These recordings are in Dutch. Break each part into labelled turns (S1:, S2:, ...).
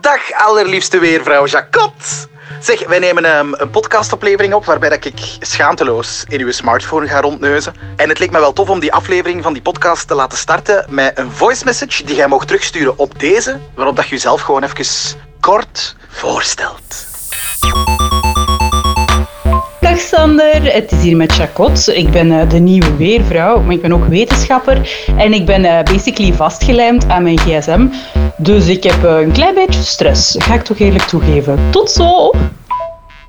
S1: Dag allerliefste weervrouw Jacot. Zeg, wij nemen ehm, een podcastaflevering op waarbij dat ik schaamteloos in uw smartphone ga rondneuzen. En het leek me wel tof om die aflevering van die podcast te laten starten met een voice message die jij mocht terugsturen op deze, waarop dat je jezelf gewoon even kort voorstelt.
S2: Dag Sander, het is hier met Jacot. Ik ben eh, de nieuwe weervrouw, maar ik ben ook wetenschapper. En ik ben eh, basically vastgelijmd aan mijn gsm. Dus ik heb eh, een klein beetje stress, ga ik toch eerlijk toegeven. Tot zo!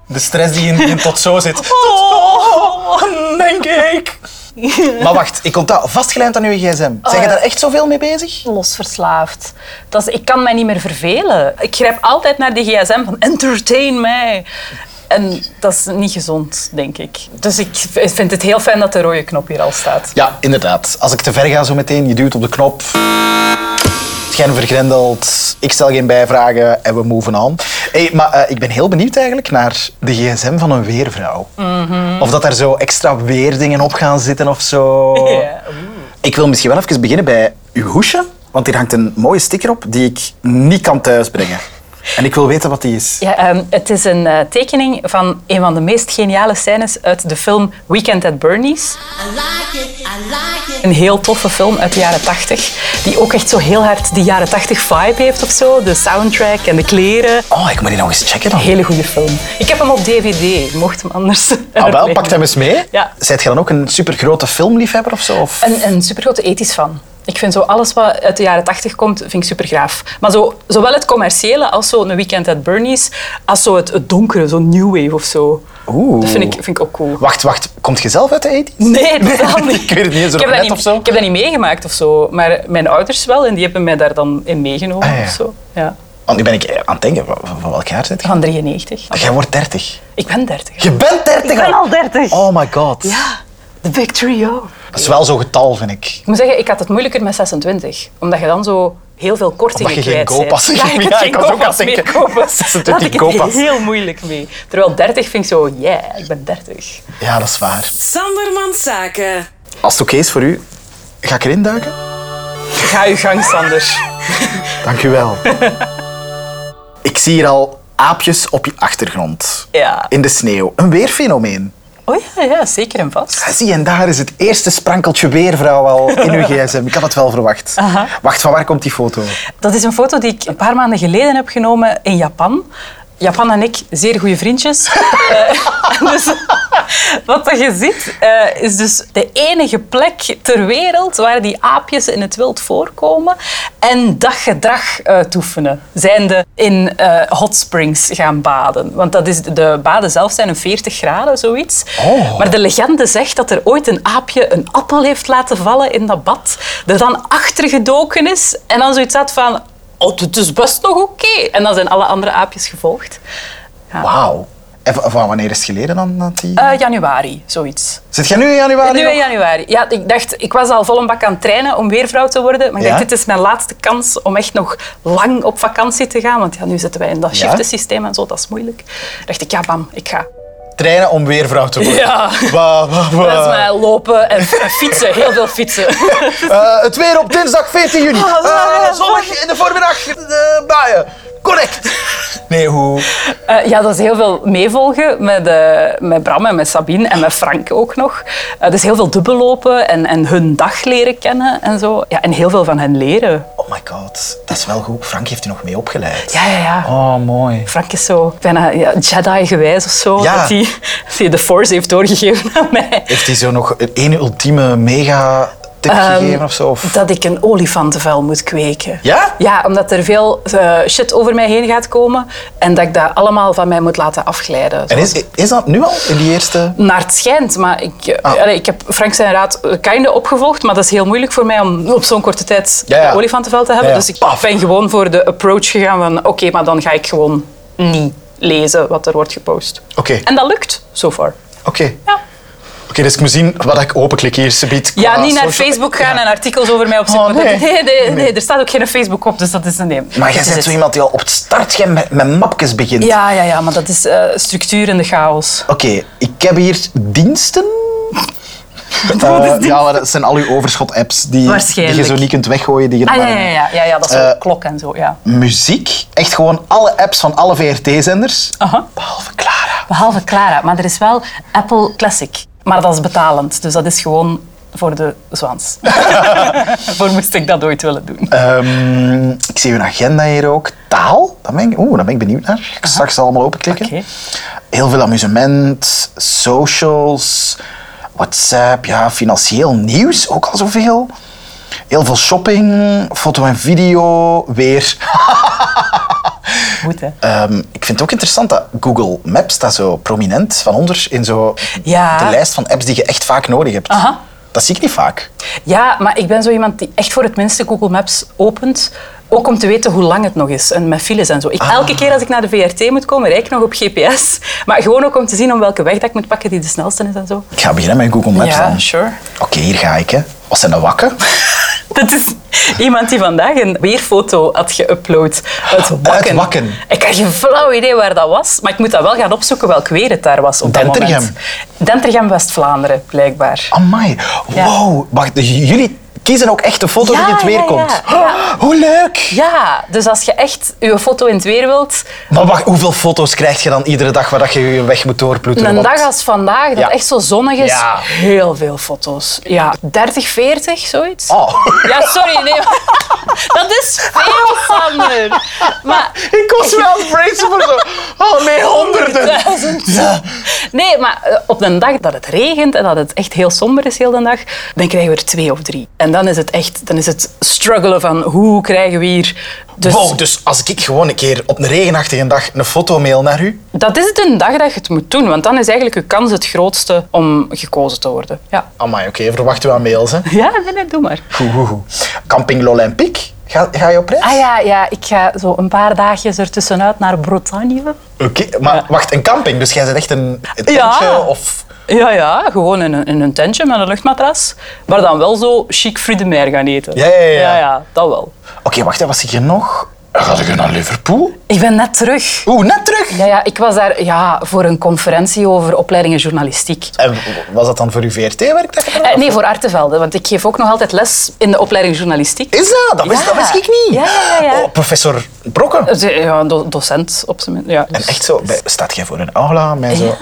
S3: De stress die in, in tot zo zit.
S4: Oh,
S3: Denk ik. Oh, Maar wacht, ik onthoud vastgelijmd aan uw gsm. Zijn je daar echt zoveel mee bezig?
S4: Losverslaafd. Dat is, ik kan mij niet meer vervelen. Ik grijp altijd naar die gsm van entertain mij. En dat is niet gezond, denk ik. Dus ik vind het heel fijn dat de rode knop hier al staat.
S3: Ja, inderdaad. Als ik te ver ga zo meteen, je duwt op de knop. Scherm vergrendeld, ik stel geen bijvragen en we moven on. Hey, maar eh, ik ben heel benieuwd eigenlijk naar de gsm van een weervrouw.
S4: Mhm.
S3: Of dat er zo extra weerdingen op gaan zitten of zo.
S4: Ja,
S3: Ik wil misschien wel even beginnen bij uw hoesje. Want hier hangt een mooie sticker op die ik niet kan thuisbrengen. En ik wil weten wat die is.
S4: Ja, ehm, het is een eh, tekening van een van de meest geniale scènes uit de film Weekend at Bernie's.
S5: I like it, I like it.
S4: Een heel toffe film uit de jaren 80, die ook echt zo heel hard die jaren 80 vibe heeft of zo. De soundtrack en de kleren.
S3: Oh, ik moet die nog eens checken dan.
S4: Hele goede film. Ik heb hem op DVD, mocht hem anders.
S3: Ah, wel,
S4: uitleggen.
S3: pak hem eens mee.
S4: Ja.
S3: Zijt je dan ook een supergrote filmliefhebber of zo? Of?
S4: Een, een supergrote ethisch fan. Ik vind zo alles wat uit de jaren 80 komt, vind ik supergraaf. Maar zo, zowel het commerciële als zo een weekend at Bernie's, als zo het, het donkere, zo new wave of zo.
S3: Oeh.
S4: Dat vind ik, vind ik ook cool.
S3: Wacht, wacht. Komt je zelf uit de 80
S4: Nee, totaal
S3: Nee,
S4: niet.
S3: ik weet het niet, is er
S4: ik
S3: nog
S4: heb dat
S3: net
S4: niet,
S3: of zo?
S4: Ik heb dat niet meegemaakt of zo, maar mijn ouders wel en die hebben mij daar dan in meegenomen
S3: Ah, ja.
S4: of zo. Ja.
S3: Want nu ben ik eh, aan het denken, van, van- van welk jaar zit je?
S4: Van 93.
S3: Jij wordt 30.
S4: Ik ben 30.
S3: Je bent 30
S2: Ik ben al 30.
S3: Oh my god.
S4: Ja, de Big Trio.
S3: Dat is wel zo'n getal, vind ik.
S4: Ik moet zeggen, ik had het moeilijker met 26. Omdat je dan zo heel veel kortingen
S3: Omdat je geen
S4: kwijt bent.
S3: kooppassen
S4: Ja, ik
S3: ging-
S4: had
S3: ja,
S4: geen
S3: ik was ook aan
S4: kooppas
S3: het
S4: meer
S3: denken,
S4: kopen.
S3: 26
S4: Daar had ik
S3: kooppas.
S4: het heel moeilijk mee. Terwijl 30 vind ik zo, yeah, ik ben 30.
S3: Ja, dat is waar.
S6: Sandermans Zaken.
S3: Als het oké is voor u, ga ik erin duiken?
S4: Ga je gang, Sander.
S3: Dank u wel. ik zie hier al aapjes op je achtergrond.
S4: Ja.
S3: In de sneeuw. Een weerfenomeen.
S4: Oh ja, ja, zeker en vast.
S3: Ah, Zie, en daar is het eerste sprankeltje weervrouw al in uw gsm. Ik had het wel verwacht. Wacht, van waar komt die foto?
S4: Dat is een foto die ik een paar maanden geleden heb genomen in Japan. Japan en ik, zeer goede vriendjes. Eh, dus wat dat je ziet, eh, is dus de enige plek ter wereld waar die aapjes in het wild voorkomen en dat gedrag eh, toefenen. Zijnde in eh, hot springs gaan baden. Want dat is, de baden zelf zijn een 40 graden, zoiets.
S3: Oh.
S4: Maar de legende zegt dat er ooit een aapje een appel heeft laten vallen in dat bad, er dan achter gedoken is en dan zoiets had van, oh, dit is best nog oké. En dan zijn alle andere aapjes gevolgd.
S3: Wauw. En van van wanneer is het geleden dan? Dat die...
S4: Eh, januari, zoiets.
S3: Zit jij nu in januari?
S4: Nu in
S3: nog?
S4: januari. Ja, ik dacht, ik was al vol een bak aan het trainen om weervrouw te worden, maar ik
S3: Ja?
S4: dacht, dit is mijn laatste kans om echt nog lang op vakantie te gaan, want ja, nu zitten wij in
S3: Ja?
S4: dat shiftensysteem en zo, dat is moeilijk. dacht ik, ja, bam, ik ga.
S3: Trainen om weervrouw te worden.
S4: Ja.
S3: Wa, wa, wa.
S4: Dat is mij lopen en en fietsen, heel veel fietsen.
S3: Eh, het weer op dinsdag 14 juni.
S4: Oh,
S3: Eh,
S4: nee.
S3: zonnig in de voormiddag. eh, buien. Correct. Nee, hoe?
S4: Eh, ja, dat is heel veel meevolgen met, eh, met Bram en met Sabine en met Frank ook nog. Eh, dus heel veel dubbellopen en, en hun dag leren kennen en zo. Ja, en heel veel van hen leren.
S3: Oh my god. Dat is wel goed. Frank heeft u nog mee opgeleid.
S4: Ja, ja, ja.
S3: Oh, mooi.
S4: Frank is zo bijna ja, Jedi-gewijs of zo.
S3: Ja.
S4: Dat hij- dat hij de Force heeft doorgegeven aan mij.
S3: Heeft hij zo nog een één ultieme mega tip gegeven of zo? Of?
S4: Ehm, Dat ik een olifantenvel moet kweken.
S3: Ja?
S4: Ja, omdat er veel eh, shit over mij heen gaat komen. En dat ik dat allemaal van mij moet laten afglijden.
S3: En is, is dat nu al in die eerste?
S4: Naar het schijnt, maar ik, eh,
S3: Ah.
S4: allee, ik heb Frank zijn raad eh, kinder opgevolgd, maar dat is heel moeilijk voor mij om op zo'n korte tijd
S3: Ja, ja.
S4: een olifantenvel te hebben.
S3: Ja, ja.
S4: Dus ik
S3: Paf.
S4: ben gewoon voor de approach gegaan van oké, maar dan ga ik gewoon niet lezen wat er wordt gepost.
S3: Oké.
S4: En dat lukt, so far.
S3: Oké.
S4: Ja.
S3: Oké, dus ik moet zien wat ik openklik hier, subiet.
S4: Ja,
S3: qua
S4: niet naar
S3: Ah, social-
S4: Facebook
S3: Ja.
S4: gaan en artikels over mij opzoeken.
S3: Oh, nee.
S4: nee, nee, nee,
S3: Nee.
S4: er staat ook geen Facebook op, dus dat is een nee.
S3: Maar
S4: Dat
S3: jij
S4: is
S3: bent
S4: het.
S3: zo iemand die al op het startje met, met mapjes begint.
S4: Ja, ja, ja, maar dat is eh, structuur in de chaos.
S3: Oké, ik heb hier diensten. Eh,
S4: Bodensdienst.
S3: ja, maar dat zijn al uw overschot-apps die, die
S4: Waarschijnlijk.
S3: je zo niet kunt weggooien. Die je nog
S4: Ah, ja,
S3: maar-
S4: ja, ja, ja, ja, dat is
S3: Eh,
S4: wel klok en zo, ja.
S3: Muziek, echt gewoon alle apps van alle VRT-zenders.
S4: Aha.
S3: Behalve Clara.
S4: Behalve Clara, maar er is wel Apple Classic. Maar dat is betalend, dus dat is gewoon voor de zwans. voor moest ik dat ooit willen doen.
S3: Ehm, ik zie uw agenda hier ook. Taal, daar ben ik, oeh, daar ben ik benieuwd naar. Ik ga straks allemaal openklikken.
S4: Oké.
S3: Heel veel amusement, socials, WhatsApp, ja, financieel nieuws, ook al zoveel. Heel veel shopping, foto en video, weer.
S4: Goed, hè?
S3: Ehm, ik vind het ook interessant dat Google Maps staat zo prominent van onder in zo
S4: Ja.
S3: de lijst van apps die je echt vaak nodig hebt.
S4: Aha.
S3: Dat zie ik niet vaak.
S4: Ja, maar ik ben zo iemand die echt voor het minste Google Maps opent. Ook om te weten hoe lang het nog is en met files en zo. Ik, Elke keer als ik naar de VRT moet komen, rijd ik nog op GPS. Maar gewoon ook om te zien om welke weg dat ik moet pakken die de snelste is en zo.
S3: Ik ga beginnen met Google Maps dan.
S4: sure.
S3: Oké, hier ga ik. Hè. Wat zijn dat wakken?
S4: Dat is iemand die vandaag een weerfoto had geüpload. Uit Wakken.
S3: Uit Ah, Wakken.
S4: Ik had geen flauw idee waar dat was, maar ik moet dat wel gaan opzoeken welk weer het daar was op dat
S3: Dentergem. Ah.
S4: moment. Dentergem, West-Vlaanderen, blijkbaar.
S3: Amai.
S4: Ja.
S3: Wow. Wacht, dus jullie kiezen ook echt de foto
S4: Ja,
S3: die in het weer
S4: ja, ja.
S3: komt. Oh,
S4: Ja.
S3: Hoe leuk.
S4: Ja, dus als je echt je foto in het weer wilt,
S3: Maar wacht, hoeveel foto's krijg je dan iedere dag waar dat je je weg moet doorploeteren?
S4: Een
S3: Want-
S4: dag als vandaag, dat
S3: Ja.
S4: echt zo zonnig is,
S3: Ja.
S4: heel veel foto's. Ja, 30, 40, zoiets.
S3: Oh.
S4: Ja, sorry, nee. Dat is veel, Sander. Maar
S3: Ik was wel vrezen voor zo. Oh nee, honderden.
S4: duizend.
S3: Ja.
S4: Nee, maar eh, op een dag dat het regent en dat het echt heel somber is heel de dag, dan krijgen we er twee of drie. En dan is het echt, dan is het struggelen van hoe krijgen we hier... Dus
S3: Wow, dus als ik gewoon een keer op een regenachtige dag een foto mail naar u,
S4: dat is het een dag dat je het moet doen, want dan is eigenlijk je kans het grootste om gekozen te worden. Ja,
S3: Amai, oké, verwachten we aan mails, hè.
S4: ja nee, nee, doe maar.
S3: Goed, goed, goed. Camping L'Olympique, ga, ga je op reis?
S4: Ah ja, ja, ik ga zo een paar dagjes ertussenuit naar Bretagne.
S3: Oké, maar wacht, een camping, dus jij bent echt een, een tentje
S4: Ja.
S3: of...
S4: Ja, ja, gewoon in een, in een tentje met een luchtmatras. Maar dan wel zo chic fruit gaan eten.
S3: Ja, ja, ja, ja.
S4: ja, dat wel.
S3: Oké, wacht, hè, wat zie je nog? Ga je naar Liverpool?
S4: Ik ben net terug.
S3: Oeh, net terug!
S4: Ja, ja, ik was daar ja, voor een conferentie over opleidingen journalistiek.
S3: En w- was dat dan voor uw VRT-werk dat je gedaan
S4: Eh, nee, voor Artevelde, want ik geef ook nog altijd les in de opleiding journalistiek.
S3: Is dat? Dat wist,
S4: Eh, Ja.
S3: dat wist ik niet.
S4: Ja, ja, ja, ja.
S3: Oh, professor Brokken.
S4: Eh, Ja, een do- docent op zijn minst. Ja, Dus
S3: En echt zo, bij, staat jij voor een aula met zo...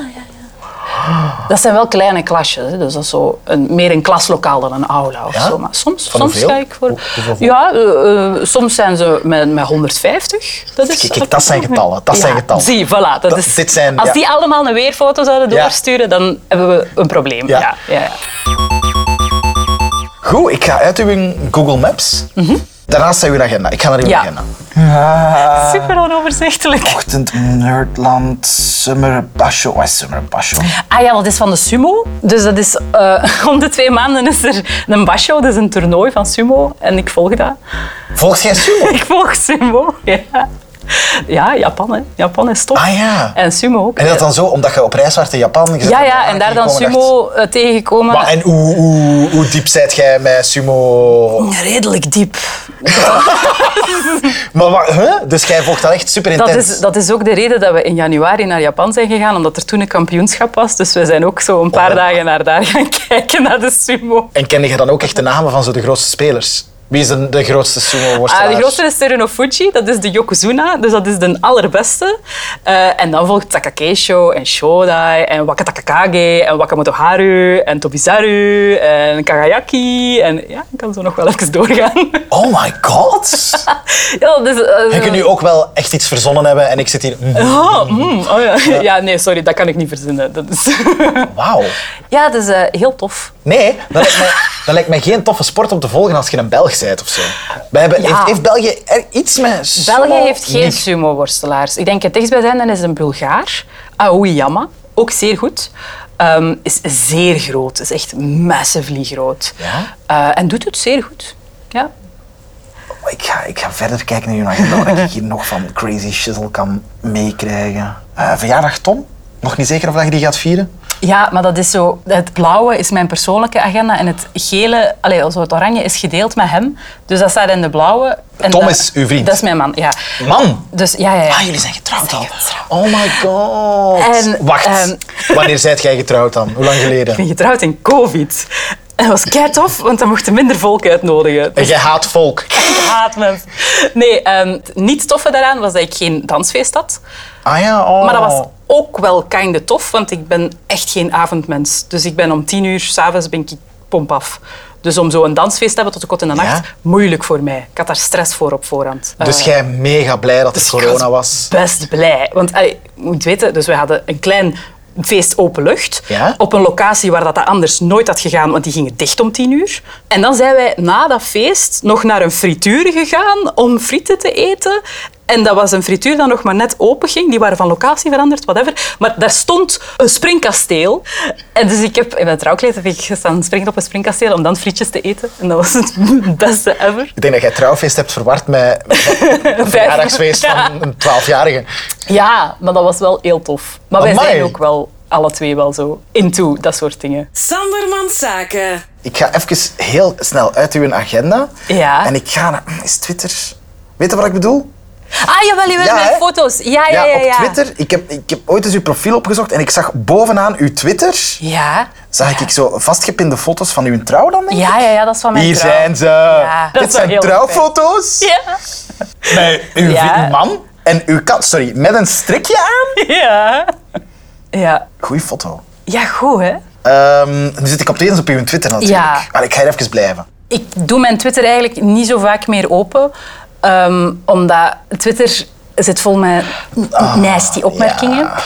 S4: Dat zijn wel kleine klasjes, hè. dus dat is zo een, meer een klaslokaal dan een aula of
S3: Ja?
S4: zo. Maar soms,
S3: Van
S4: soms
S3: hoeveel?
S4: ga ik voor.
S3: Hoe- hoeveel voor?
S4: ja, eh, eh, soms zijn ze met, met 150. Dat is
S3: Kijk, kijk, dat zijn getallen, dat zijn getallen.
S4: Zie, voilà. Dat
S3: Dat-
S4: is,
S3: dit zijn-
S4: als
S3: ja.
S4: die allemaal een weerfoto zouden
S3: Ja.
S4: doorsturen, dan hebben we een probleem.
S3: Ja.
S4: Ja. Ja, ja,
S3: Goed, ik ga uit uw Google Maps. Daarnaast zijn uw agenda. Ik ga naar uw
S4: Mhm. Ja.
S3: agenda. Eh,
S4: Super onoverzichtelijk.
S3: Ochtend, Nerdland, Summerbasho. Wat is Summerbasho?
S4: Ah ja, dat is van de sumo. Dus dat is, eh, om de twee maanden is er een basho, dat is een toernooi van sumo. En ik volg dat.
S3: Volgt jij sumo?
S4: Ik volg sumo, ja. Ja, Japan, hè. Japan is top.
S3: Ah ja.
S4: En sumo ook.
S3: En dat dan zo, omdat je op reis was in Japan? je zat
S4: Eh, ja,
S3: in
S4: ja,
S3: Japan
S4: en daar dan
S3: gekomen, dacht-
S4: sumo eh, tegengekomen.
S3: Maar en hoe, hoe, hoe diep zijt jij met sumo?
S4: Redelijk diep.
S3: Maar wat, hè? Dus jij volgt dat echt super intens.
S4: Dat is, dat is ook de reden dat we in januari naar Japan zijn gegaan, omdat er toen een kampioenschap was. Dus we zijn ook zo een paar
S3: Oh.
S4: dagen naar daar gaan kijken, naar de sumo.
S3: En kende je dan ook echt de namen van zo de grootste spelers? Wie is de, de grootste sumo-worstelaar?
S4: Ah, de grootste is Teruno Fuji, dat is de Yokozuna, dus dat is de allerbeste. Eh, en dan volgt Takakesho en Shodai en Wakatakakage en Wakamoto Haru en Tobizaru en Kagayaki. En ja, ik kan zo nog wel even doorgaan.
S3: Oh my god!
S4: ja, dus, eh,
S3: Je kunt nu ook wel echt iets verzonnen hebben en ik zit hier... mm,
S4: Oh, mm, oh ja. ja. nee, sorry, dat kan ik niet verzinnen. Dat is...
S3: Wauw.
S4: ja, dat is eh, heel tof.
S3: Nee, dat lijkt, mij, dat lijkt mij geen toffe sport om te volgen als je een Belg bent of zo. Wij hebben,
S4: Ja.
S3: heeft, heeft België er iets met sumo?
S4: België heeft geen
S3: Niet.
S4: sumo-worstelaars. Ik denk het dichtstbijzijnde is een Bulgaar, Aoyama, ook zeer goed. Ehm, is zeer groot, is echt massively groot.
S3: Ja?
S4: Eh, en doet het zeer goed. Ja.
S3: Oh, Ik ga, ik ga verder kijken naar je agenda, wat ik hier nog van crazy shizzle kan meekrijgen. Eh, verjaardag Tom? Nog niet zeker of dat je die gaat vieren?
S4: ja, maar dat is zo. Het blauwe is mijn persoonlijke agenda en het gele, allee, also het oranje, is gedeeld met hem. Dus dat staat in de blauwe. En
S3: Tom
S4: dat-
S3: is uw vriend?
S4: Dat is mijn man, ja.
S3: Man!
S4: Dus ja, ja, ja.
S3: Ah, jullie zijn getrouwd al. Oh my god.
S4: En,
S3: Wacht.
S4: ehm,
S3: Wanneer zijt jij getrouwd dan? Hoe lang geleden?
S4: Ik ben getrouwd in COVID. En dat was kei tof, want dan mochten minder volk uitnodigen. Dus
S3: En jij haat volk.
S4: Ik haat mensen. Nee, ehm, het niet toffe daaraan was dat ik geen dansfeest had.
S3: Ah ja, oh.
S4: Maar dat was ook wel kinder tof, want ik ben echt geen avondmens. Dus ik ben om tien uur s'avonds ben ik pomp af. Dus om zo'n dansfeest te hebben tot de kot in de
S3: Ja?
S4: nacht, moeilijk voor mij. Ik had daar stress voor op voorhand.
S3: Dus
S4: Eh,
S3: jij mega blij dat het
S4: dus ik
S3: corona was.
S4: Best blij. Want allee, je moet weten, dus we hadden een klein feest open lucht.
S3: Ja?
S4: Op een locatie waar dat anders nooit had gegaan, want die gingen dicht om tien uur. En dan zijn wij na dat feest nog naar een frituur gegaan om frieten te eten. En dat was een frituur dat nog maar net open ging. Die waren van locatie veranderd, whatever. Maar daar stond een springkasteel. En dus ik heb in mijn trouwkleed heb ik gestaan springen op een springkasteel om dan frietjes te eten. En dat was het beste ever.
S3: Ik denk dat jij trouwfeest hebt verward met een verjaardagsfeest van een twaalfjarige.
S4: Ja, maar dat was wel heel tof. Maar wij
S3: Amai.
S4: zijn ook wel alle twee wel zo into dat soort dingen.
S6: Sandermans Zaken.
S3: Ik ga even heel snel uit uw agenda.
S4: Ja.
S3: En ik ga naar... hm, Is Twitter... Weet je wat ik bedoel?
S4: Ah, jawel, jawel,
S3: Ja,
S4: mijn
S3: hè?
S4: foto's. Ja, ja, ja.
S3: op Twitter. Ik heb, ik heb ooit eens uw profiel opgezocht en ik zag bovenaan uw Twitter...
S4: Ja.
S3: Zag ik zo vastgepinde foto's van uw trouw dan, denk ik?
S4: Ja, ja, ja, dat is van mijn
S3: Hier
S4: trouw.
S3: zijn ze.
S4: Ja.
S3: Dit
S4: Dat is wel
S3: zijn
S4: heel
S3: trouwfoto's.
S4: Ja.
S3: Met uw
S4: Ja.
S3: vriend man en uw kat. Sorry, met een strikje aan.
S4: Ja. Ja.
S3: Goeie foto.
S4: Ja, goed, hè?
S3: Ehm, nu zit ik op het eens op uw Twitter natuurlijk.
S4: Ja.
S3: Maar ik ga hier even blijven.
S4: Ik doe mijn Twitter eigenlijk niet zo vaak meer open, ehm, omdat Twitter zit vol met
S3: Ah,
S4: nasty opmerkingen.
S3: Ja.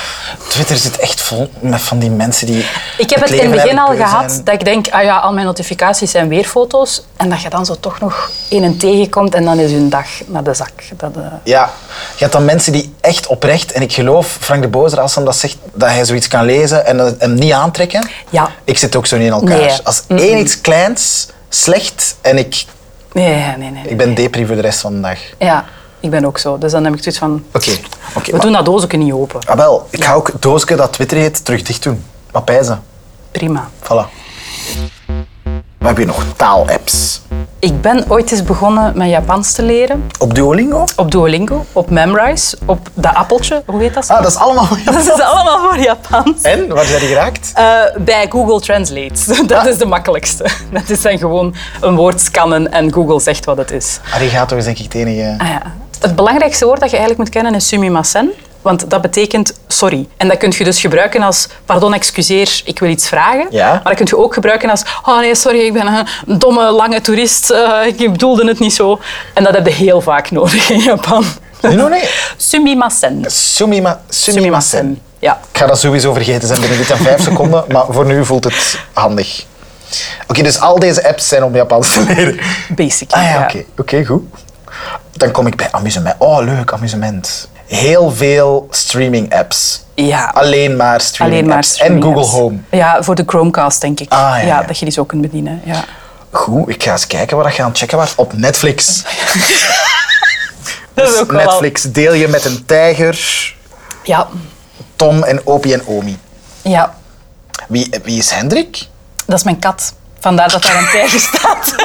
S3: Twitter zit echt vol met van die mensen die.
S4: Ik heb het in
S3: leven
S4: het begin al
S3: eigenlijk beu
S4: gehad
S3: zijn.
S4: dat ik denk, ah ja, al mijn notificaties zijn weer foto's. En dat je dan zo toch nog in een tegenkomt en dan is hun dag naar de zak. Dat, eh,
S3: Ja, je hebt dan mensen die echt oprecht, en ik geloof Frank de Bozer als hij dat zegt, dat hij zoiets kan lezen en het hem niet aantrekken.
S4: Ja.
S3: Ik zit ook zo niet in elkaar.
S4: Nee.
S3: Als één iets kleins slecht en ik,
S4: Nee, nee, nee. nee.
S3: ik ben depri voor de rest van de dag.
S4: Ja, ik ben ook zo. Dus dan heb ik zoiets van,
S3: Oké, oké.
S4: we
S3: maar-
S4: doen dat doosje niet open.
S3: Ah, wel, ik ga ook het doosje dat Twitter heet terug dicht doen. Papijzen.
S4: Prima.
S3: Voilà. We hebben hier nog taalapps.
S4: Ik ben ooit eens begonnen met Japans te leren.
S3: Op Duolingo?
S4: Op Duolingo, op Memrise, op de appeltje. Hoe heet dat? zo?
S3: Ah, dat is allemaal...
S4: dat is allemaal voor Japans.
S3: En, waar zijn die geraakt?
S4: Eh, bij Google Translate.
S3: Ah.
S4: Dat is de makkelijkste. Dat is dan gewoon een woord scannen en Google zegt wat het is.
S3: Arigato is denk ik het enige...
S4: Ah ja. Het belangrijkste woord dat je eigenlijk moet kennen is sumimasen. Want dat betekent sorry. En dat kun je dus gebruiken als pardon, excuseer, ik wil iets vragen.
S3: Ja.
S4: Maar dat kun je ook gebruiken als oh nee, sorry, ik ben een domme, lange toerist. eh, ik bedoelde het niet zo. En dat heb je heel vaak nodig in Japan.
S3: Nee, nee, nee.
S4: Sumimasen.
S3: Sumima, sumimasen.
S4: Ja.
S3: Ik ga dat sowieso vergeten zijn binnen dit en vijf seconden, maar voor nu voelt het handig. Oké, dus al deze apps zijn om Japans te leren.
S4: Basic.
S3: Ah ja, oké. Oké, goed. Dan kom ik bij amusement. Oh, leuk, amusement. Heel veel streaming apps.
S4: Ja.
S3: Alleen maar streaming
S4: Alleen maar
S3: apps.
S4: streaming
S3: en Google
S4: apps.
S3: Home.
S4: Ja, voor de Chromecast denk ik.
S3: Ah, ja, ja.
S4: dat je die zo kunt bedienen. Ja.
S3: Goed, ik ga eens kijken wat ik ga aan het checken was. Op Netflix.
S4: Dat is ook wel-
S3: Netflix deel je met een tijger,
S4: Ja.
S3: Tom en Opie en Omi.
S4: ja,
S3: Wie, wie is Hendrik?
S4: Dat is mijn kat. Vandaar dat daar een tijger staat.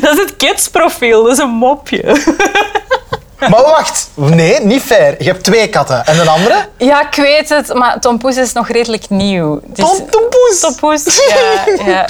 S4: Dat is het kidsprofiel, dat is een mopje.
S3: Maar wacht, nee, niet fair. Je hebt twee katten. En een andere?
S4: Ja, ik weet het, maar Tom Poes is nog redelijk nieuw. Dus...
S3: Tom, Tom Poes.
S4: Tom Poes, ja, ja.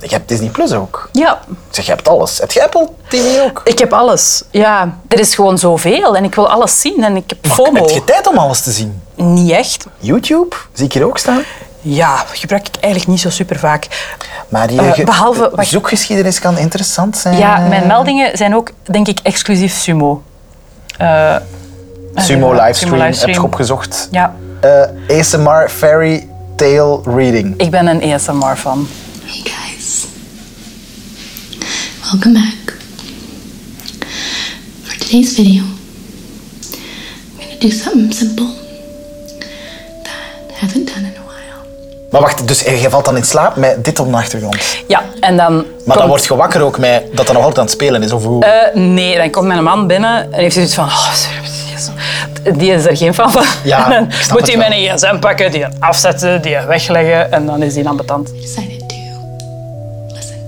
S3: Je hebt Disney Plus ook.
S4: Ja,
S3: Ik zeg, je hebt alles. Heb je Apple TV ook?
S4: ik heb alles. Ja, er is gewoon zoveel en ik wil alles zien en ik heb FOMO.
S3: Heb je tijd om alles te zien?
S4: Niet echt.
S3: YouTube, zie ik hier ook staan.
S4: Ja, gebruik ik eigenlijk niet zo super vaak.
S3: Maar die
S4: Eh,
S3: ge-
S4: behalve- wacht.
S3: zoekgeschiedenis kan interessant zijn.
S4: Ja,
S3: eh.
S4: mijn meldingen zijn ook, denk ik, exclusief sumo. Eh,
S3: Sumo livestream, heb
S4: livestream.
S3: je opgezocht.
S4: ja,
S3: Eh, ASMR Fairy Tale Reading.
S4: ik ben een ASMR-fan.
S7: Hey guys, welcome back. For today's video, I'm gonna do something simple that I haven't done in a while.
S3: Maar wacht, dus je valt dan in slaap met dit op de achtergrond. Maar
S4: Ja, en dan...
S3: dan
S4: komt-
S3: word je wakker ook met dat dat nog altijd aan het spelen is. Of hoe?
S4: Eh, nee, dan komt mijn man binnen en heeft zoiets van... Oh, jezus, die is er geen fan van.
S3: Ja,
S4: En dan
S3: ik snap
S4: moet hij
S3: het
S4: mijn gsm pakken, die afzetten, die wegleggen en dan is die ambetant.
S7: I decided to listen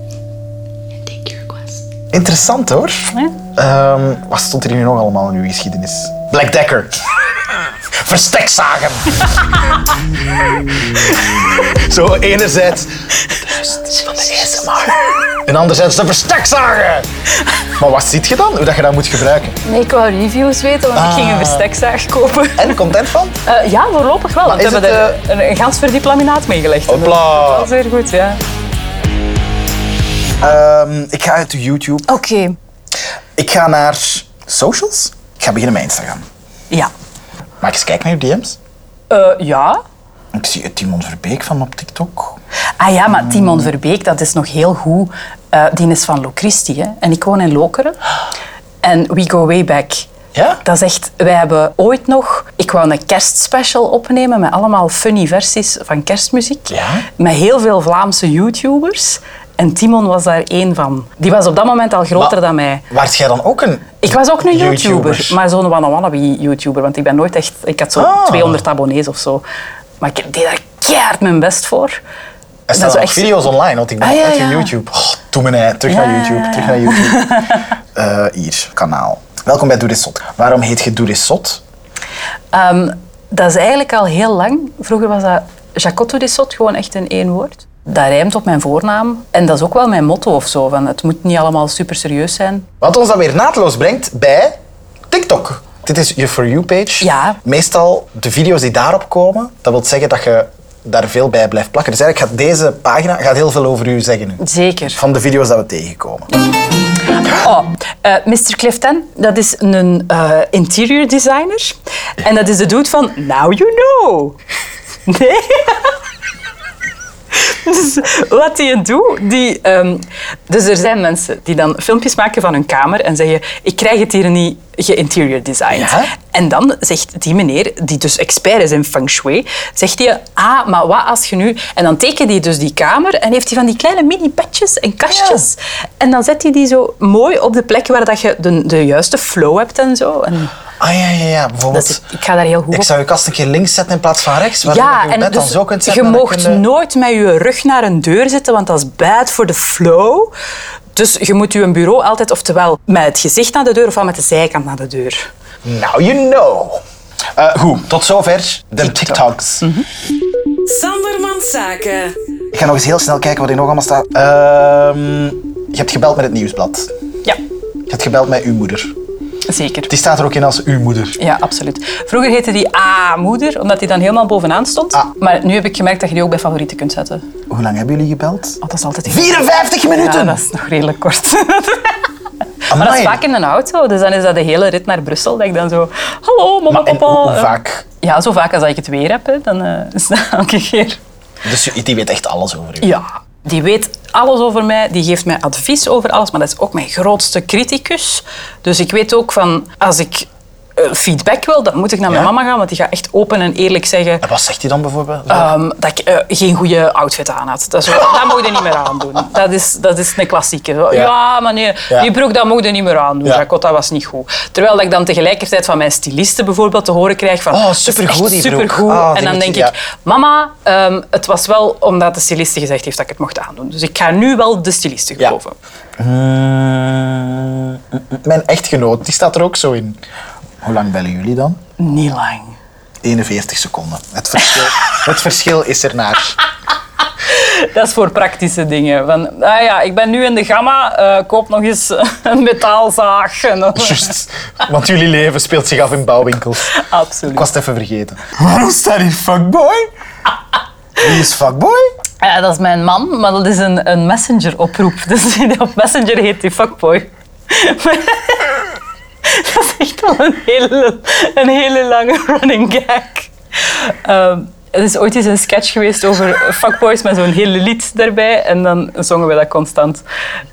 S7: and take your request.
S3: Interessant hoor.
S4: Ja.
S3: Ehm, wat stond er hier nu nog allemaal in uw geschiedenis? Black Decker. verstekzagen. Zo enerzijds de rust van de ASMR. En anderzijds de verstekzagen. Maar wat ziet je dan? Hoe dat je dat moet gebruiken?
S8: Nee, ik wou reviews weten, want ik ging een verstekzaag kopen.
S3: Ah. En content van?
S4: Eh, ja, voorlopig wel. Want
S3: is
S4: we hebben
S3: het,
S4: er een, een gans verdiep laminaat meegelegd.
S3: Hopla.
S4: Dat is zeer goed, ja.
S3: Ehm, ik ga uit YouTube.
S8: Oké.
S3: Ik ga naar socials. Ik ga beginnen met Instagram.
S4: Ja.
S3: Mag ik eens kijken naar je DM's?
S4: Eh, ja.
S3: Ik zie Timon Verbeek van op TikTok.
S4: Ah ja, maar Timon Verbeek, dat is nog heel goed. Eh, die is van Locristi, hè. En ik woon in Lokeren. En we go way back.
S3: Ja?
S4: Dat is echt... Wij hebben ooit nog... Ik wou een kerstspecial opnemen met allemaal funny versies van kerstmuziek.
S3: Ja.
S4: Met heel veel Vlaamse YouTubers. En Timon was daar één van. Die was op dat moment al groter
S3: Maar-
S4: dan mij.
S3: Waart jij dan ook een...
S4: Ik was ook een YouTuber,
S3: YouTubers.
S4: maar zo'n wannabe-YouTuber. Want ik ben nooit echt... Ik had zo'n
S3: Ah.
S4: 200 abonnees of zo. Maar ik deed daar keihard mijn best voor.
S3: Er staan
S4: zo
S3: ook video's online, want ik ben
S4: Ah, ja,
S3: altijd op
S4: ja.
S3: YouTube. Oh, doe me nee, terug
S4: Ja,
S3: naar YouTube,
S4: ja, ja.
S3: terug naar YouTube. Eh, hier, kanaal. Welkom bij Doe Dit Zot. Waarom heet je Doe Dit Zot?
S4: Ehm, dat is eigenlijk al heel lang. Vroeger was dat Jacotto de Sot, gewoon echt in één woord. Dat rijmt op mijn voornaam. En dat is ook wel mijn motto of zo. Van het moet niet allemaal super serieus zijn.
S3: Wat ons dan weer naadloos brengt bij TikTok. Dit is je For You-page.
S4: Ja.
S3: Meestal de video's die daarop komen, dat wil zeggen dat je daar veel bij blijft plakken. Dus eigenlijk gaat deze pagina gaat heel veel over u zeggen nu.
S4: Zeker.
S3: Van de video's dat we tegenkomen.
S4: Oh, eh, Mr. Clifton, dat is een eh, interior designer. En dat is de dude van Now You Know. Nee? Dus wat die doet, die... ehm, dus er zijn mensen die dan filmpjes maken van hun kamer en zeggen ik krijg het hier niet geïnterior designed.
S3: Ja.
S4: En dan zegt die meneer, die dus expert is in feng shui, zegt hij, ah, maar wat als je nu... En dan tekent hij dus die kamer en heeft hij van die kleine mini-bedjes en kastjes. En dan zet hij die zo mooi op de plek waar dat je de, de juiste flow hebt en zo. En
S3: Ah ja, ja, ja. Bijvoorbeeld,
S4: dat is, ik ga daar heel goed
S3: ik
S4: op.
S3: zou je kast een keer links zetten in plaats van rechts. waardoor dat
S4: Ja,
S3: je je
S4: en
S3: bed dan
S4: dus
S3: zo kunt
S4: je
S3: zetten. en dan
S4: moogt
S3: kun je-
S4: nooit met je rug naar een deur zitten, want dat is bad voor de flow. Dus je moet je bureau altijd oftewel met het gezicht naar de deur ofwel met de zijkant naar de deur.
S3: Now Nou, you know. Eh, goed, tot zover de TikToks.
S4: Mhm.
S6: Sandermans Zaken.
S3: Ik ga nog eens heel snel kijken wat er nog allemaal staat. Ehm, je hebt gebeld met het nieuwsblad.
S4: Ja,
S3: Je hebt gebeld met uw moeder.
S4: zeker.
S3: Die staat er ook in als uw moeder.
S4: Ja, absoluut. Vroeger heette die A-moeder, omdat die dan helemaal bovenaan stond.
S3: Ah.
S4: Maar nu heb ik gemerkt dat je die ook bij favorieten kunt zetten.
S3: Hoe lang hebben jullie gebeld?
S4: Oh, dat is altijd heel-
S3: 54 minuten!
S4: Ja, dat is nog redelijk kort. maar dat
S3: Amai.
S4: is vaak in een auto, dus dan is dat de hele rit naar Brussel. Dat ik dan zo, hallo mama,
S3: Maar en
S4: papa.
S3: hoe, hoe
S4: Eh,
S3: vaak?
S4: Ja, zo vaak als dat ik het weer heb, hè, dan eh, is dat elke keer.
S3: Dus die weet echt alles over u.
S4: Ja. Die weet alles over mij, die geeft mij advies over alles, maar dat is ook mijn grootste criticus. Dus ik weet ook van, als ik eh, feedback wil, dan moet ik naar mijn
S3: Ja?
S4: mama gaan, want die gaat echt open en eerlijk zeggen
S3: En wat zegt hij dan bijvoorbeeld?
S4: ehm, dat ik eh, geen goede outfit aan had. Dat, is zo, dat moet je niet meer aandoen. Dat is, dat is een klassieke. Zo,
S3: Ja.
S4: Ja, maar nee,
S3: Ja.
S4: die broek dat moet je niet meer aandoen.
S3: Ja.
S4: Jacot, dat was niet goed. Terwijl dat ik dan tegelijkertijd van mijn styliste bijvoorbeeld te horen krijg van...
S3: Oh,
S4: dat is
S3: supergoed die
S4: echt
S3: broek.
S4: Supergoed.
S3: Ah, die
S4: en dan
S3: moet
S4: denk
S3: je- ja.
S4: ik, mama, ehm, het was wel omdat de styliste gezegd heeft dat ik het mocht aandoen. Dus ik ga nu wel de styliste
S3: Ja.
S4: geloven.
S3: Mm, Mijn echtgenoot, die staat er ook zo in. Hoe lang bellen jullie dan?
S4: Niet lang.
S3: 41 seconden. Het verschil, het verschil is ernaar.
S4: Dat is voor praktische dingen. Van, ah ja, ik ben nu in de gamma, eh, koop nog eens een metaalzaag. En dan-
S3: Juist. Want jullie leven speelt zich af in bouwwinkels.
S4: Absoluut.
S3: Ik was het even vergeten. Waarom staat hier fuckboy? Wie is fuckboy?
S4: Ja, Eh, dat is mijn man, maar dat is een, een messenger-oproep. Dus op messenger heet hij fuckboy. dat is echt al een hele, een hele lange running gag. Ehm, er is ooit eens een sketch geweest over fuckboys met zo'n hele lied daarbij. En dan zongen we dat constant.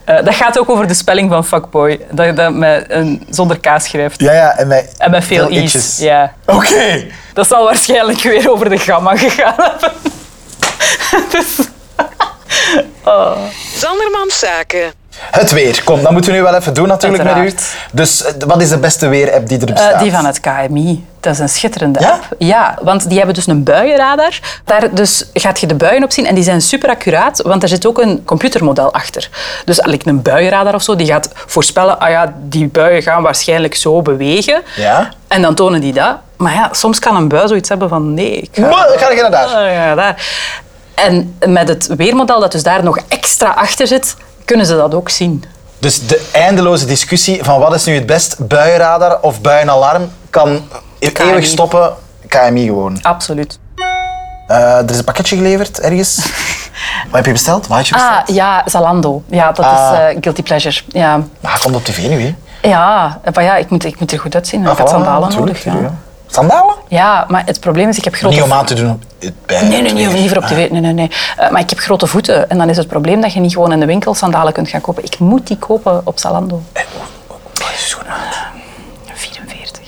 S4: Eh, dat gaat ook over de spelling van fuckboy. Dat je dat met een, zonder K schrijft.
S3: Ja, ja, en wij...
S4: En met veel
S3: i'tjes.
S4: i's. Ja.
S3: Oké.
S4: Dat zal waarschijnlijk weer over de gamma gegaan hebben. dus...
S6: Sandermans Zaken.
S3: Het weer. Kom, dat moeten we nu wel even doen natuurlijk
S4: Uiteraard.
S3: met u. Dus eh, wat is de beste weer-app die er
S4: Eh,
S3: bestaat?
S4: die van het KMI. Dat is een schitterende
S3: Ja?
S4: app. Ja, want die hebben dus een buienradar. Daar dus gaat je de buien op zien en die zijn super accuraat, want daar zit ook een computermodel achter. Dus eigenlijk een buienradar of zo, die gaat voorspellen, ah ja, die buien gaan waarschijnlijk zo bewegen.
S3: Ja.
S4: En dan tonen die dat. Maar ja, soms kan een bui zoiets hebben van nee, ik ga
S3: Maar, ga je naar daar?
S4: Ah, ja, daar. En met het weermodel dat dus daar nog extra achter zit, kunnen ze dat ook zien.
S3: Dus de eindeloze discussie van wat is nu het best, buienradar of buienalarm, kan eeuwig stoppen. KMI gewoon.
S4: Absoluut.
S3: Eh, er is een pakketje geleverd ergens. wat heb je besteld? Wat had je besteld?
S4: Ah, ja, Zalando. Ja, dat is
S3: Ah.
S4: eh, guilty pleasure. Ja,
S3: Maar hij komt op tv nu, hè?
S4: ja, maar ja ik, moet, ik moet er goed uitzien.
S3: Ah,
S4: ik had sandalen nodig. Ja.
S3: ja. Sandalen?
S4: ja, maar het probleem is, ik heb grote
S3: Niet om aan te Ah. doen op, bij
S4: Nee, nee, nee,
S3: het
S4: of
S3: weer.
S4: liever op tv. Nee, nee, nee. Eh, maar ik heb grote voeten en dan is het probleem dat je niet gewoon in de winkel sandalen kunt gaan kopen. Ik moet die kopen op Zalando.
S3: Eh, Wat is schoen uit?
S4: 44.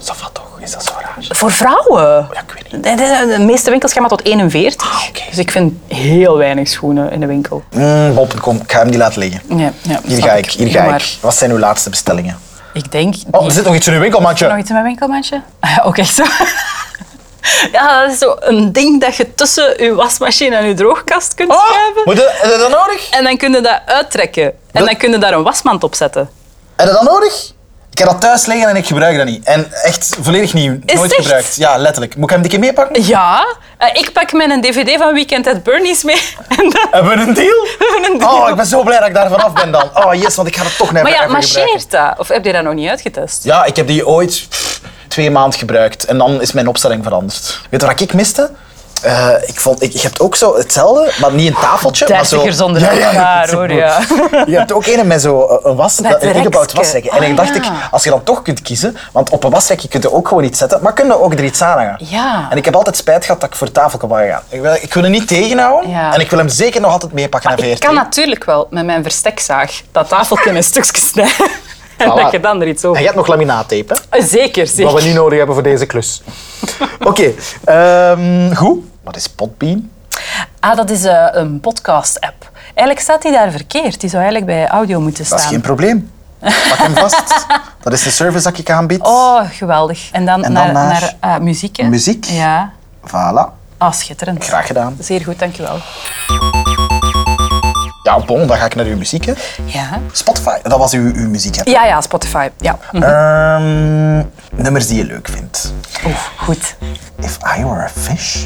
S3: Is dat wat toch? Is dat zo raar?
S4: Voor vrouwen?
S3: Oh, Ja, ik weet niet.
S4: De, de- de meeste winkels gaan maar tot 41.
S3: Ah, oké.
S4: Dus ik vind heel weinig schoenen in de winkel.
S3: Mm, Bob, kom, ik ga hem die laten liggen.
S4: Ja, ja,
S3: Hier
S4: snap
S3: ga ik, hier
S4: Doe
S3: ga
S4: maar.
S3: ik. Wat zijn uw laatste bestellingen?
S4: Ik denk... die-
S3: Oh, er zit nog iets in uw winkelmandje.
S4: Nog iets in mijn winkelmandje? Ah, Ook echt zo. Ja, dat is zo een ding dat je tussen je wasmachine en je droogkast kunt schuiven.
S3: Oh, moet je, heb je dat nodig?
S4: En dan kun je dat uittrekken. En
S3: Dat-
S4: dan kun je daar een wasmand op zetten.
S3: Heb je dat nodig? Ik heb dat thuis liggen en ik gebruik dat niet. En echt volledig nieuw. Nooit
S4: het echt?
S3: gebruikt. Ja, letterlijk. Moet ik hem die keer meepakken?
S4: Ja, eh, ik pak mijn dvd van Weekend at Bernie's mee. En dan...
S3: Hebben we een deal?
S4: hebben een
S3: Eh, Oh,
S4: deal.
S3: ik ben zo blij dat ik daar vanaf ben dan. Oh yes, want ik ga het toch net
S4: Maar ja,
S3: even gebruiken.
S4: marcheert dat? Of heb je dat nog niet uitgetest?
S3: Ja, ik heb die ooit pff, twee maanden gebruikt en dan is mijn opstelling veranderd. Weet je wat ik miste? Eh, ik vond, ik, je hebt ook zo hetzelfde, maar niet een tafeltje. maar zo-
S4: Dertigers onder elkaar,
S3: zo-
S4: hoor, ja.
S3: Je hebt ook een met zo eh, een was,
S4: Met
S3: dat- een
S4: een
S3: ingebouwd
S4: rekje.
S3: wasrekje. En
S4: Ah,
S3: ik dacht ik,
S4: ja.
S3: als je dan toch kunt kiezen, want op een wasrekje kun je ook gewoon iets zetten, maar kun je ook er iets aan hangen.
S4: Ja.
S3: En ik heb altijd spijt gehad dat ik voor het tafeltje wou gaan. Ik wil, ik wil hem niet tegenhouden
S4: Ja.
S3: en ik wil hem zeker nog altijd meepakken naar
S4: Ik
S3: VRT.
S4: kan natuurlijk wel met mijn verstekzaag dat tafeltje in stukjes snijden. En
S3: Voilà.
S4: dat je dan er iets
S3: En
S4: over...
S3: je hebt nog laminaattape, hè?
S4: Eh, Zeker, zeker.
S3: Wat we nu nodig hebben voor deze klus. Oké, ehm, goed. Wat is Podbean?
S4: Ah, dat is eh, een podcast-app. Eigenlijk staat die daar verkeerd. Die zou eigenlijk bij audio moeten
S3: Dat is geen
S4: staan.
S3: probleem. Pak hem vast. Dat is de service dat ik aanbied.
S4: Oh, geweldig. En dan,
S3: En dan
S4: naar,
S3: naar-
S4: naar... eh, muziek. hè?
S3: Muziek.
S4: Ja.
S3: Voilà.
S4: Ah, schitterend.
S3: Graag gedaan.
S4: Zeer goed, dankjewel.
S3: Ja, bon, dan ga ik naar uw muziek. Hè.
S4: Ja.
S3: Spotify, dat was uw, uw muziek. Hè.
S4: Ja, ja, Spotify. Ja. Hm.
S3: Ehm, nummers die je leuk vindt.
S4: Oeh, goed.
S3: If I Were a Fish.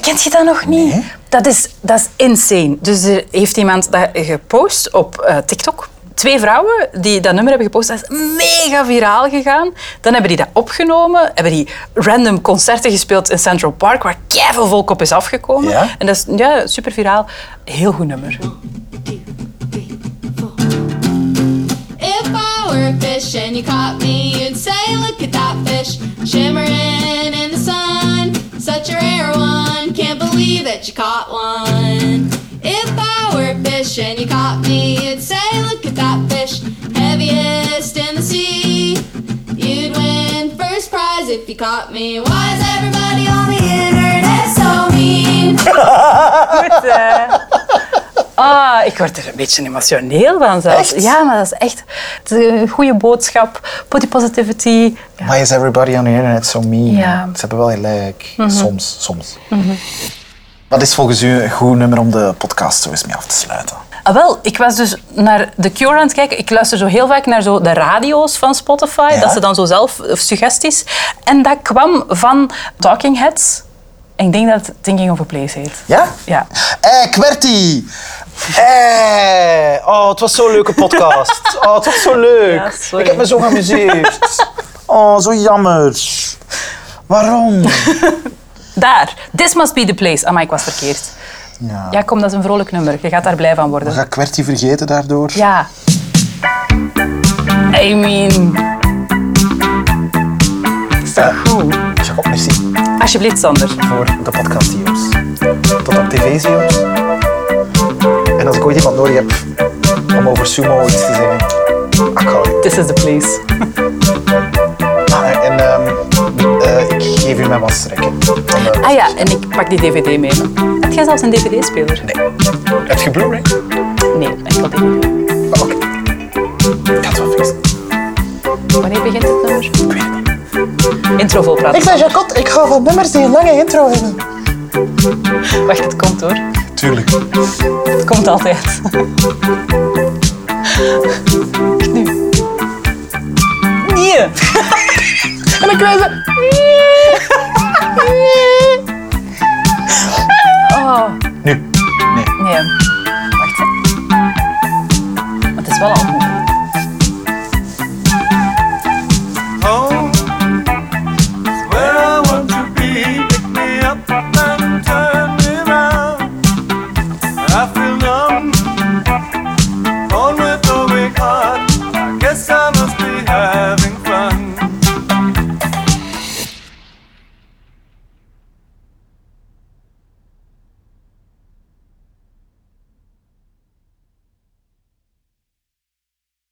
S4: Kent je dat nog niet?
S3: Nee.
S4: Dat, is, dat is insane. Dus er heeft iemand dat gepost op eh, TikTok. Twee vrouwen die dat nummer hebben gepost, dat is mega viraal gegaan. Dan hebben die dat opgenomen, hebben die random concerten gespeeld in Central Park, waar keiveel volk op is afgekomen.
S3: Ja?
S4: En dat is ja, super viraal. Heel goed nummer.
S5: If I were a fish and you caught me, you'd say, Look at that fish shimmering in the sun. Such a rare one, can't believe that you caught one. If I were a fish and you caught me, you'd say, Look at that fish, heaviest in the sea. You'd win first prize if you caught me. Why is everybody on the internet so mean?
S4: Dus, eh, Ah, ik word er een beetje emotioneel van zelfs.
S3: Echt?
S4: Ja, maar dat is echt het is een goede boodschap. Body positivity. Ja.
S3: Why is everybody on the internet so mean?
S4: Ja. Mhm.
S3: Ze hebben wel gelijk. Soms, soms. Wat is volgens u een goed nummer om de podcast zo eens mee af te sluiten?
S4: Ah, wel, ik was dus naar The Cure aan het kijken. Ik luister zo heel vaak naar zo de radio's van Spotify.
S3: Ja.
S4: Dat ze dan zo zelf of suggesties. En dat kwam van Talking Heads. En ik denk dat het Thinking of a Place heet.
S3: Ja?
S4: Ja.
S3: Hé, Kwerti! Hé! Oh, het was zo'n leuke podcast. Oh, het was zo
S4: Ja,
S3: leuk.
S4: sorry.
S3: ik heb me zo geamuseerd. Oh, zo jammer. Waarom?
S4: Daar. This must be the place. Amai, ik was verkeerd.
S3: Ja.
S4: Ja, kom, dat is een vrolijk nummer. Je gaat daar blij van worden.
S3: Ga ik Kwerti vergeten daardoor?
S4: Ja. I mean... Is dat
S3: Ja.
S4: goed?
S3: Zeg op, merci
S4: Alsjeblieft, Sander.
S3: voor de podcast CEO's. Tot op tv CEO's. En als ik ooit iemand nodig heb om over sumo iets te zeggen, ik hou je.
S4: This is the place.
S3: Ah, En ehm, eh, ik geef u mijn wasrekken. Dan, eh,
S4: Ah ja, en ik pak die dvd mee. Heb jij zelfs een dvd-speler? Ah.
S3: Heb je Blu-ray?
S4: Nee, ik had DVD.
S3: Oké. Ik ga het wel fixen.
S4: Wanneer begint het nummer?
S3: Ik weet het niet.
S4: Intro vol praten.
S3: Ik ben Jacot, ik hou van nummers die een lange intro hebben.
S4: Wacht, het komt hoor.
S3: Tuurlijk.
S4: Het komt altijd. Nu. Nee. En dan kwijt ze. Oh,
S3: Nu. Nee.
S4: nee. Wacht, hè. Maar het is wel allemaal.